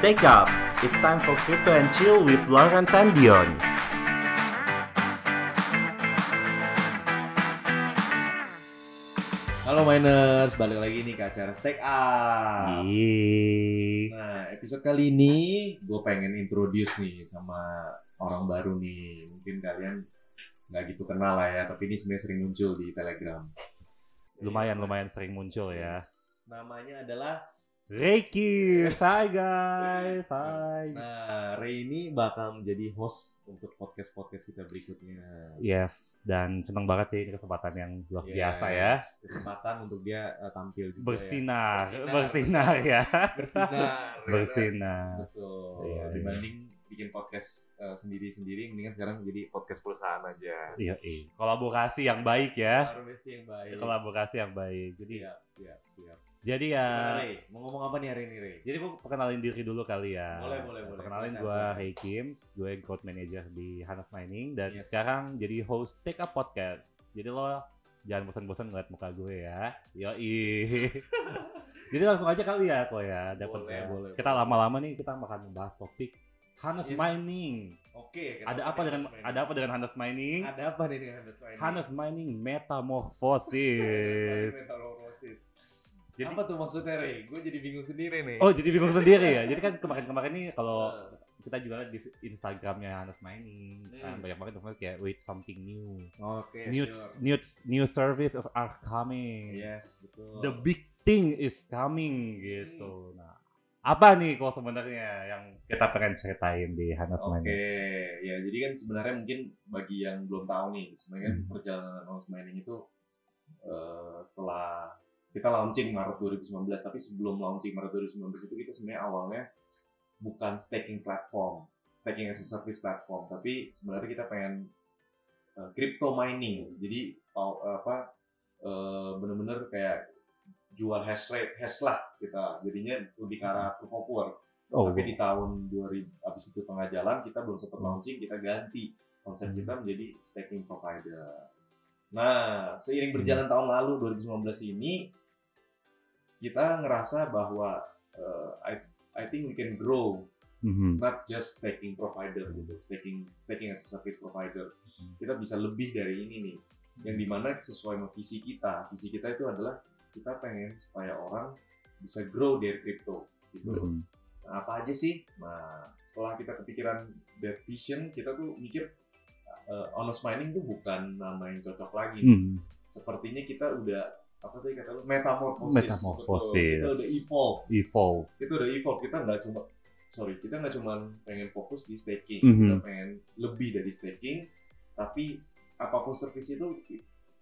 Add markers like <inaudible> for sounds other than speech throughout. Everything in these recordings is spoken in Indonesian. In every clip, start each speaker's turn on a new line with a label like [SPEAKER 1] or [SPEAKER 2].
[SPEAKER 1] Stay up! It's time for Crypto and Chill with Lawrence and Dion.
[SPEAKER 2] Halo miners, balik lagi nih ke acara Stack Up.
[SPEAKER 1] Iya.
[SPEAKER 2] Nah, episode kali ini gue pengen introduce nih sama orang baru nih. Mungkin kalian nggak gitu kenal lah ya, tapi ini sebenarnya sering muncul di Telegram.
[SPEAKER 1] Lumayan lumayan sering muncul ya.
[SPEAKER 2] Yes, Namanya adalah
[SPEAKER 1] Reiki, hi guys, hi.
[SPEAKER 2] Nah, Ray ini bakal menjadi host untuk podcast-podcast kita berikutnya.
[SPEAKER 1] Yes, dan seneng banget sih ini kesempatan yang Iya, luar biasa ya.
[SPEAKER 2] Yes, Kesempatan untuk dia eh, tampil juga ya.
[SPEAKER 1] Bersinar,
[SPEAKER 2] Bersinar.
[SPEAKER 1] bersinar ya. <laughs>
[SPEAKER 2] Bersinar. kan?
[SPEAKER 1] Bersinar.
[SPEAKER 2] Betul.
[SPEAKER 1] Iya, iya.
[SPEAKER 2] Dibanding bikin podcast eh, sendiri-sendiri, mendingan sekarang jadi podcast perusahaan aja.
[SPEAKER 1] Iya, iya. Kolaborasi yang baik ya.
[SPEAKER 2] Harusnya yang baik.
[SPEAKER 1] Kolaborasi yang baik. Jadi,
[SPEAKER 2] siap, siap, siap.
[SPEAKER 1] jadi ya.
[SPEAKER 2] Gimana, Rey? Mau ngomong apa nih hari ini, Rey?
[SPEAKER 1] Jadi gue perkenalin diri dulu kali ya.
[SPEAKER 2] Boleh, boleh, boleh.
[SPEAKER 1] Perkenalin
[SPEAKER 2] Silakan,
[SPEAKER 1] gue
[SPEAKER 2] silakan.
[SPEAKER 1] Hey Kims, gue growth manager di Hanas Mining dan
[SPEAKER 2] Yes.
[SPEAKER 1] sekarang jadi host Take Up Podcast. Jadi lo jangan bosan-bosan ngeliat muka gue ya.
[SPEAKER 2] <laughs>
[SPEAKER 1] Yoi. jadi langsung aja kali ya kok ya. Dapat
[SPEAKER 2] Boleh,
[SPEAKER 1] ya.
[SPEAKER 2] boleh,
[SPEAKER 1] Kita
[SPEAKER 2] boleh.
[SPEAKER 1] lama-lama nih kita akan membahas topik Hanas
[SPEAKER 2] Yes.
[SPEAKER 1] Mining.
[SPEAKER 2] Oke.
[SPEAKER 1] Ada
[SPEAKER 2] kenapa
[SPEAKER 1] apa
[SPEAKER 2] nih
[SPEAKER 1] dengan
[SPEAKER 2] Hannes Mining?
[SPEAKER 1] ada apa dengan Hanas Mining?
[SPEAKER 2] Ada apa nih dengan Hannes Mining?
[SPEAKER 1] Hanas Mining
[SPEAKER 2] Mining <laughs>
[SPEAKER 1] metamorfosis.
[SPEAKER 2] metamorfosis.
[SPEAKER 1] Jadi-
[SPEAKER 2] apa tuh maksudnya, Rey? Gue jadi bingung sendiri nih.
[SPEAKER 1] Oh jadi bingung sendiri ya. Jadi kan kemarin-kemarin nih kalau
[SPEAKER 2] Eh,
[SPEAKER 1] kita juga di Instagramnya Hanas Mining kan
[SPEAKER 2] Hmm.
[SPEAKER 1] banyak banget informasi kayak with something new
[SPEAKER 2] Oke,
[SPEAKER 1] new
[SPEAKER 2] sure.
[SPEAKER 1] new new services are coming
[SPEAKER 2] Yes, betul.
[SPEAKER 1] the big thing is coming gitu
[SPEAKER 2] Hmm.
[SPEAKER 1] nah apa nih kok sebenarnya yang kita pengen ceritain di Hanas
[SPEAKER 2] Oke,
[SPEAKER 1] Mining
[SPEAKER 2] ya jadi kan sebenarnya mungkin bagi yang belum tahu nih, sebenarnya kan
[SPEAKER 1] Hmm.
[SPEAKER 2] perjalanan Honest Mining itu eh, setelah kita launching Maret 2019, tapi sebelum launching Maret 2019 itu kita sebenarnya awalnya bukan staking platform, staking as a service platform, tapi sebenarnya kita pengen eh, crypto mining, jadi tau- apa eh, bener-bener kayak jual hash rate, hash lah kita, jadinya lebih ke arah proof of work.
[SPEAKER 1] oh
[SPEAKER 2] Tapi di tahun 2000 abis itu tengah jalan kita belum sempat launching, kita ganti konsep
[SPEAKER 1] Hmm.
[SPEAKER 2] kita menjadi staking provider. Nah, seiring
[SPEAKER 1] Hmm.
[SPEAKER 2] berjalan tahun lalu 2019 ini kita ngerasa bahwa eh, I, I think we can grow
[SPEAKER 1] mhm.
[SPEAKER 2] not just staking provider gitu, staking staking as a service provider.
[SPEAKER 1] Hmm.
[SPEAKER 2] Kita bisa lebih dari ini nih. Yang dimana sesuai sama visi kita, visi kita itu adalah kita pengen supaya orang bisa grow their crypto gitu.
[SPEAKER 1] Mhm.
[SPEAKER 2] Nah, apa aja sih? Nah, setelah kita kepikiran that vision, kita tuh mikir uh, honest mining tuh bukan nama yang cocok lagi.
[SPEAKER 1] Mhm.
[SPEAKER 2] Sepertinya kita udah apa tadi kata lu metamorfosis.
[SPEAKER 1] Metamorfosis.
[SPEAKER 2] Betul. Kita udah evolve.
[SPEAKER 1] evolve
[SPEAKER 2] Kita udah evolve. Kita nggak cuma sorry, kita nggak cuma pengen fokus di staking.
[SPEAKER 1] Mhm.
[SPEAKER 2] Kita pengen lebih dari staking, tapi apapun service itu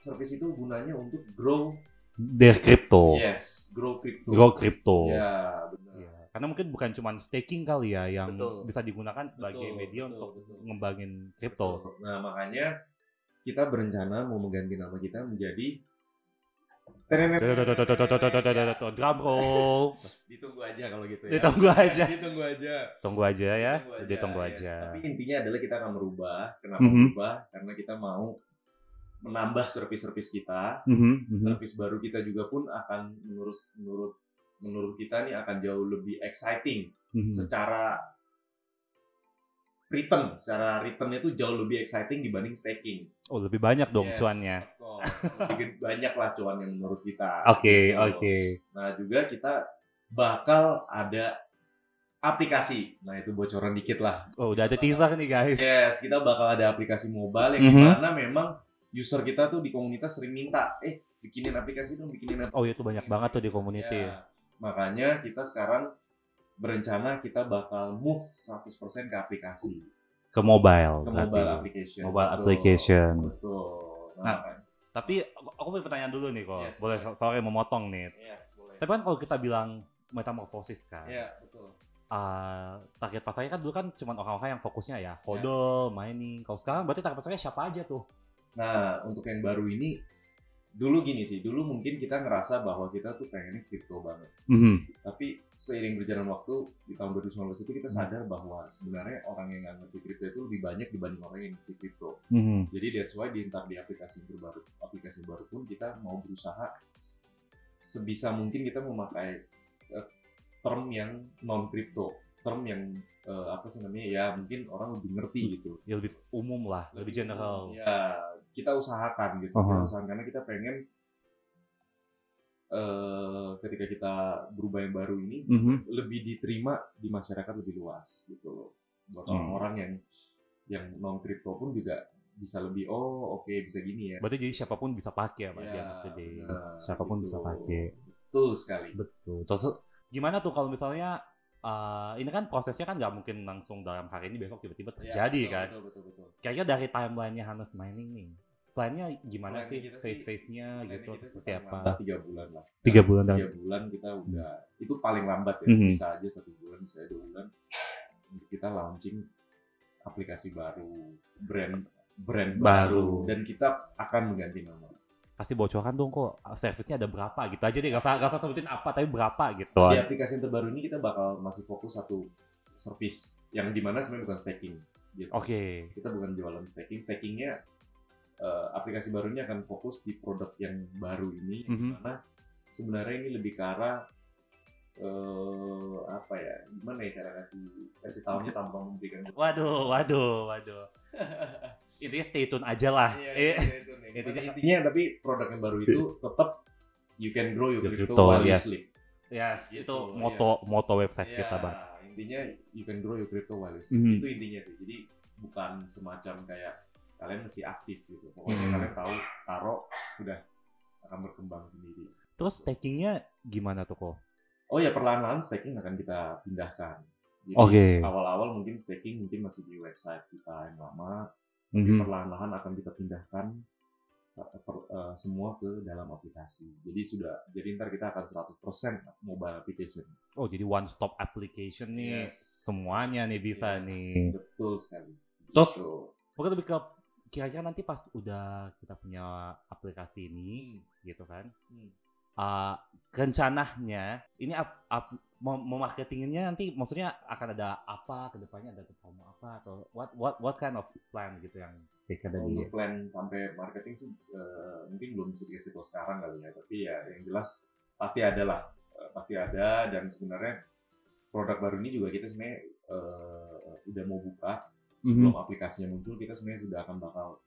[SPEAKER 2] service itu gunanya untuk grow
[SPEAKER 1] their crypto
[SPEAKER 2] yes grow crypto
[SPEAKER 1] Oh. grow crypto
[SPEAKER 2] ya benar
[SPEAKER 1] Ya. karena mungkin bukan cuma staking kali ya yang
[SPEAKER 2] Betul.
[SPEAKER 1] bisa digunakan sebagai
[SPEAKER 2] Betul,
[SPEAKER 1] media
[SPEAKER 2] betul,
[SPEAKER 1] untuk
[SPEAKER 2] betul.
[SPEAKER 1] ngembangin crypto
[SPEAKER 2] Nah, makanya kita berencana mau mengganti nama kita menjadi Terenet.
[SPEAKER 1] drum roll
[SPEAKER 2] Ditunggu aja kalau gitu ya.
[SPEAKER 1] Ditunggu aja.
[SPEAKER 2] <laughs> Ditunggu aja.
[SPEAKER 1] tunggu aja ya
[SPEAKER 2] Ditunggu
[SPEAKER 1] jadi tunggu
[SPEAKER 2] yes.
[SPEAKER 1] aja
[SPEAKER 2] iya, Tapi intinya adalah kita akan merubah. Kenapa
[SPEAKER 1] Mhm.
[SPEAKER 2] merubah? Karena kita mau menambah service-service kita.
[SPEAKER 1] Mhm, mhm.
[SPEAKER 2] Service baru kita juga pun akan menurut menurut menurut kita nih akan jauh lebih exciting
[SPEAKER 1] Mhm.
[SPEAKER 2] secara return, secara returnnya itu jauh lebih exciting dibanding staking.
[SPEAKER 1] oh lebih banyak dong
[SPEAKER 2] Yes,
[SPEAKER 1] cuannya
[SPEAKER 2] of course. Lebih banyak lah cuannya menurut kita.
[SPEAKER 1] oke
[SPEAKER 2] Gitu.
[SPEAKER 1] oke
[SPEAKER 2] Nah juga kita bakal ada aplikasi. Nah itu bocoran dikit lah.
[SPEAKER 1] oh udah ada teaser nih guys
[SPEAKER 2] Yes, kita bakal ada aplikasi mobile yang
[SPEAKER 1] Mhm.
[SPEAKER 2] dimana memang user kita tuh di komunitas sering minta, eh bikinin aplikasi dong, bikinin aplikasi.
[SPEAKER 1] oh itu banyak banget tuh di community
[SPEAKER 2] Ya, Makanya kita sekarang berencana kita bakal move 100% ke aplikasi,
[SPEAKER 1] ke mobile
[SPEAKER 2] ke
[SPEAKER 1] berarti.
[SPEAKER 2] mobile application.
[SPEAKER 1] Mobile
[SPEAKER 2] Betul.
[SPEAKER 1] application.
[SPEAKER 2] Betul.
[SPEAKER 1] Nah,
[SPEAKER 2] makanya-
[SPEAKER 1] tapi aku, aku punya pertanyaan dulu nih kok
[SPEAKER 2] Yes,
[SPEAKER 1] boleh
[SPEAKER 2] boleh.
[SPEAKER 1] sorry memotong nih
[SPEAKER 2] yes, boleh.
[SPEAKER 1] tapi kan kalau kita bilang metamorfosis kan
[SPEAKER 2] Ya, betul.
[SPEAKER 1] ah, target pasarnya kan dulu kan cuma orang-orang yang fokusnya
[SPEAKER 2] Iya.
[SPEAKER 1] ya hodl mining kalau sekarang berarti target pasarnya siapa aja tuh
[SPEAKER 2] Nah, untuk yang baru ini, dulu gini sih, dulu mungkin kita ngerasa bahwa kita tuh pengennya crypto banget.
[SPEAKER 1] Mhm,
[SPEAKER 2] Tapi seiring berjalan waktu, di tahun 2019 itu kita sadar bahwa sebenarnya orang yang nggak ngerti crypto itu lebih banyak dibanding orang yang ngerti crypto.
[SPEAKER 1] Mhm.
[SPEAKER 2] Jadi that's why di entar di aplikasi baru, aplikasi baru pun kita mau berusaha sebisa mungkin kita memakai eh, term yang non crypto. term yang eh, apa sih namanya ya mungkin orang lebih ngerti gitu
[SPEAKER 1] ya lebih umum lah, lebih general.
[SPEAKER 2] ya kita usahakan gitu
[SPEAKER 1] Aha.
[SPEAKER 2] kita usahakan karena kita pengen eh ketika kita berubah yang baru ini
[SPEAKER 1] Mhm.
[SPEAKER 2] lebih diterima di masyarakat lebih luas gitu loh. Buat
[SPEAKER 1] Hmm.
[SPEAKER 2] orang-orang yang yang non kripto pun juga bisa lebih oh oke bisa gini ya.
[SPEAKER 1] Berarti jadi siapapun bisa pakai ya, Pak.
[SPEAKER 2] Ya,
[SPEAKER 1] Ya, jadi
[SPEAKER 2] benar,
[SPEAKER 1] siapapun
[SPEAKER 2] gitu.
[SPEAKER 1] bisa pakai.
[SPEAKER 2] Betul sekali.
[SPEAKER 1] Betul. Terus gimana tuh kalau misalnya eh, ini kan prosesnya kan nggak mungkin langsung dalam hari ini besok tiba-tiba
[SPEAKER 2] Ya,
[SPEAKER 1] terjadi
[SPEAKER 2] betul,
[SPEAKER 1] kan?
[SPEAKER 2] Betul betul betul.
[SPEAKER 1] Kayaknya dari timelinenya Hannes Mining nih, plannya gimana
[SPEAKER 2] Plan
[SPEAKER 1] sih
[SPEAKER 2] kita sih,
[SPEAKER 1] face-face-nya
[SPEAKER 2] Planning
[SPEAKER 1] gitu
[SPEAKER 2] Nah, kita
[SPEAKER 1] seperti
[SPEAKER 2] paling
[SPEAKER 1] apa? Iya.
[SPEAKER 2] lambat Tiga bulan lah.
[SPEAKER 1] Tiga bulan dan
[SPEAKER 2] Tiga bulan kita
[SPEAKER 1] Hmm.
[SPEAKER 2] udah itu paling lambat ya.
[SPEAKER 1] Mhm.
[SPEAKER 2] Bisa aja satu bulan, bisa aja dua bulan. Untuk kita launching aplikasi baru, brand brand
[SPEAKER 1] Baru.
[SPEAKER 2] dan kita akan mengganti nama.
[SPEAKER 1] pasti bocoran dong kok servisnya ada berapa gitu aja deh gak usah, nggak usah sebutin apa tapi berapa gitu
[SPEAKER 2] Di aplikasi yang terbaru ini kita bakal masih fokus satu service yang dimana sebenarnya bukan staking. gitu.
[SPEAKER 1] oke
[SPEAKER 2] Kita bukan jualan staking, stakingnya eh, aplikasi baru ini akan fokus di produk yang baru ini,
[SPEAKER 1] Mhm.
[SPEAKER 2] dimana sebenarnya ini lebih ke arah eh, apa ya? Gimana ya cara kasih kasih tahunya tanpa memberikan
[SPEAKER 1] waduh waduh
[SPEAKER 2] <laughs>
[SPEAKER 1] waduh intinya stay tune aja lah
[SPEAKER 2] Iya,
[SPEAKER 1] Eh,
[SPEAKER 2] itu nih.
[SPEAKER 1] intinya-
[SPEAKER 2] intinya tapi produk yang baru itu tetap you can grow your
[SPEAKER 1] Your
[SPEAKER 2] crypto,
[SPEAKER 1] crypto,
[SPEAKER 2] while you
[SPEAKER 1] yes.
[SPEAKER 2] sleep.
[SPEAKER 1] yes
[SPEAKER 2] Gitu,
[SPEAKER 1] itu
[SPEAKER 2] iya.
[SPEAKER 1] moto moto website
[SPEAKER 2] Ya,
[SPEAKER 1] kita bang
[SPEAKER 2] Intinya you can grow your crypto while you sleep.
[SPEAKER 1] Mhm.
[SPEAKER 2] Itu intinya sih. Jadi bukan semacam kayak kalian mesti aktif gitu.
[SPEAKER 1] Mhm.
[SPEAKER 2] Pokoknya kalian tahu taruh udah akan berkembang sendiri.
[SPEAKER 1] terus takingnya gimana tuh kok
[SPEAKER 2] Oh ya perlahan-lahan staking akan kita pindahkan. Jadi
[SPEAKER 1] Oke.
[SPEAKER 2] awal-awal mungkin staking mungkin masih di website kita yang lama, tapi
[SPEAKER 1] Mhm.
[SPEAKER 2] perlahan-lahan akan kita pindahkan sa- per- eh, semua ke dalam aplikasi. Jadi sudah, jadi ntar kita akan 100% mobile application.
[SPEAKER 1] oh jadi one stop application nih
[SPEAKER 2] Yes.
[SPEAKER 1] semuanya nih bisa
[SPEAKER 2] Yes,
[SPEAKER 1] nih
[SPEAKER 2] Iya. Betul sekali.
[SPEAKER 1] Terus,
[SPEAKER 2] Gitu.
[SPEAKER 1] pokoknya lebih ke kira-kira nanti pas udah kita punya aplikasi ini
[SPEAKER 2] Hmm,
[SPEAKER 1] gitu kan
[SPEAKER 2] hmm.
[SPEAKER 1] uh, rencananya ini up, up, mau, mau marketingnya nanti maksudnya akan ada apa kedepannya ada promo apa atau what what what kind of plan gitu yang taken
[SPEAKER 2] Kalau
[SPEAKER 1] dari
[SPEAKER 2] Untuk plan sampai marketing sih eh, mungkin belum bisa dikasih tahu sekarang kali ya, tapi ya yang jelas pasti ada lah, Eh, pasti ada dan sebenarnya produk baru ini juga kita sebenarnya eh, udah mau buka
[SPEAKER 1] Mhm.
[SPEAKER 2] sebelum aplikasinya muncul kita sebenarnya sudah akan bakal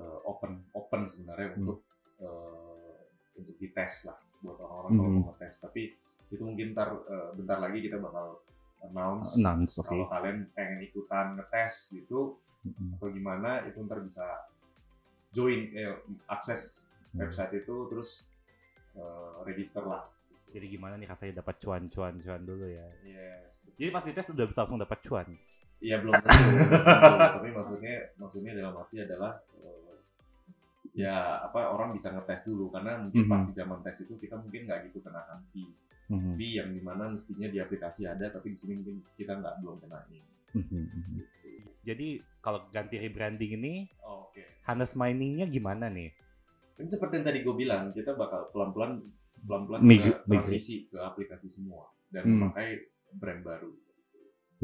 [SPEAKER 2] eh, open open sebenarnya
[SPEAKER 1] Hmm.
[SPEAKER 2] untuk eh, untuk dites lah buat orang-orang
[SPEAKER 1] Mhm.
[SPEAKER 2] kalau mau tes, tapi itu mungkin ntar eh, bentar lagi kita bakal announce
[SPEAKER 1] announce Nah, oke
[SPEAKER 2] kalau kalian pengen ikutan ngetes gitu
[SPEAKER 1] Mm-mm.
[SPEAKER 2] atau gimana itu ntar bisa join eh, akses
[SPEAKER 1] Hmm.
[SPEAKER 2] website itu terus eh, register lah
[SPEAKER 1] jadi gimana nih rasanya dapat cuan cuan cuan dulu ya
[SPEAKER 2] yes betul.
[SPEAKER 1] jadi pas dites udah bisa langsung dapat cuan
[SPEAKER 2] iya belum tentu belum tentu. <laughs> tapi maksudnya maksudnya dalam arti adalah eh, ya apa orang bisa ngetes dulu karena mungkin
[SPEAKER 1] Mhm.
[SPEAKER 2] pas di zaman tes itu kita mungkin nggak gitu kenakan fee fee yang dimana mestinya di aplikasi ada tapi di sini mungkin kita nggak belum kenain
[SPEAKER 1] Mhm, jadi kalau ganti rebranding ini
[SPEAKER 2] oke
[SPEAKER 1] Hannes miningnya gimana nih
[SPEAKER 2] Ini seperti yang tadi gue bilang, kita bakal pelan-pelan pelan-pelan
[SPEAKER 1] Mig-
[SPEAKER 2] ke
[SPEAKER 1] migrate.
[SPEAKER 2] transisi ke aplikasi semua dan
[SPEAKER 1] Hmm.
[SPEAKER 2] memakai brand baru.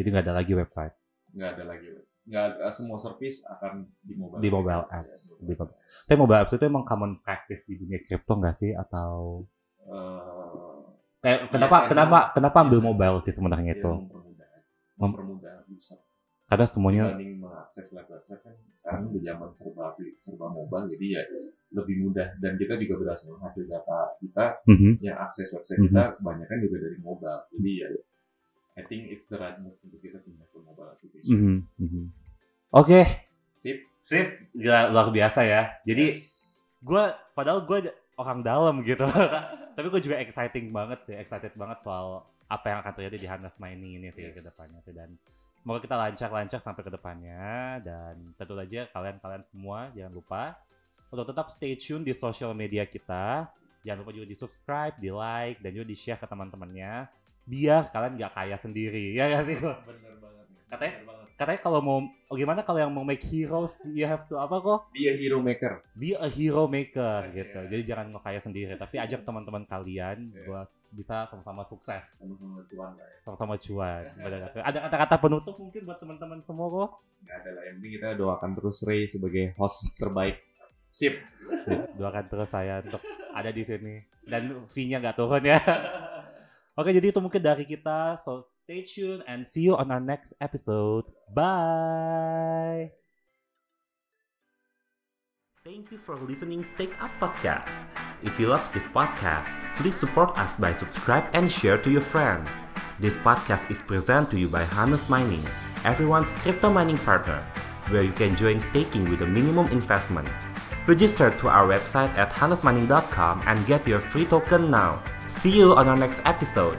[SPEAKER 1] jadi nggak ada lagi website
[SPEAKER 2] Nggak ada lagi, nggak ada- semua service akan di mobile.
[SPEAKER 1] Di mobile
[SPEAKER 2] application,
[SPEAKER 1] apps,
[SPEAKER 2] ya,
[SPEAKER 1] di mobile tapi mobile apps itu emang common practice di dunia crypto nggak sih atau
[SPEAKER 2] Eh,
[SPEAKER 1] kayak
[SPEAKER 2] Yes,
[SPEAKER 1] kenapa
[SPEAKER 2] I know.
[SPEAKER 1] kenapa kenapa ambil
[SPEAKER 2] Yes, I know.
[SPEAKER 1] mobile sih sebenarnya
[SPEAKER 2] ya,
[SPEAKER 1] itu
[SPEAKER 2] mempermudah,
[SPEAKER 1] Mem-
[SPEAKER 2] mempermudah user
[SPEAKER 1] karena semuanya
[SPEAKER 2] dibanding mengakses lab website kan sekarang di zaman serba aplik- serba mobile jadi ya lebih mudah dan kita juga berdasarkan hasil data kita
[SPEAKER 1] Mhm.
[SPEAKER 2] yang ya, akses website kita kebanyakan juga dari mobile. Jadi ya, I think it's the right move untuk kita pindah ke mobile application.
[SPEAKER 1] Mhm, mhm. Oke,
[SPEAKER 2] Sip.
[SPEAKER 1] sip, Gila, luar biasa ya. Jadi
[SPEAKER 2] Yes.
[SPEAKER 1] gua padahal gue orang dalam gitu, <laughs> tapi gue juga exciting banget sih, excited banget soal apa yang akan terjadi di Hannes Mining ini sih
[SPEAKER 2] Yes.
[SPEAKER 1] ke depannya sih dan semoga kita lancar-lancar sampai ke depannya dan tentu saja kalian-kalian semua jangan lupa untuk tetap stay tune di sosial media kita. Jangan lupa juga di subscribe, di like, dan juga di share ke teman-temannya. Biar kalian nggak kaya sendiri, <laughs> ya nggak sih?
[SPEAKER 2] Bener banget. nih.
[SPEAKER 1] Katanya?
[SPEAKER 2] Bener banget.
[SPEAKER 1] katanya kalau mau oh gimana kalau yang mau make heroes you have to apa kok
[SPEAKER 2] Dia hero maker.
[SPEAKER 1] be a hero maker
[SPEAKER 2] Ah,
[SPEAKER 1] gitu
[SPEAKER 2] iya.
[SPEAKER 1] jadi jangan mau kaya sendiri tapi ajak teman-teman kalian
[SPEAKER 2] Iya.
[SPEAKER 1] buat bisa sama-sama sukses
[SPEAKER 2] Sama-sama tuan lah ya.
[SPEAKER 1] sama-sama
[SPEAKER 2] <laughs>
[SPEAKER 1] cuan Bener nggak? ada kata-kata penutup mungkin buat teman-teman semua kok
[SPEAKER 2] Nggak ada lah. Yang penting kita doakan terus Ray sebagai host terbaik. Sip. Iya.
[SPEAKER 1] <laughs> doakan terus saya untuk ada
[SPEAKER 2] <laughs>
[SPEAKER 1] di sini dan fee-nya nggak turun ya oke jadi itu mungkin dari kita so, Stay tuned and see you on our next episode. Bye. Thank you for listening Stake Up Podcast. If you love this podcast, please support us by subscribe and share to your friend. This podcast is presented to you by Hannes Mining, everyone's crypto mining partner, where you can join staking with a minimum investment. Register to our website at hannesmining.com and get your free token now. See you on our next episode.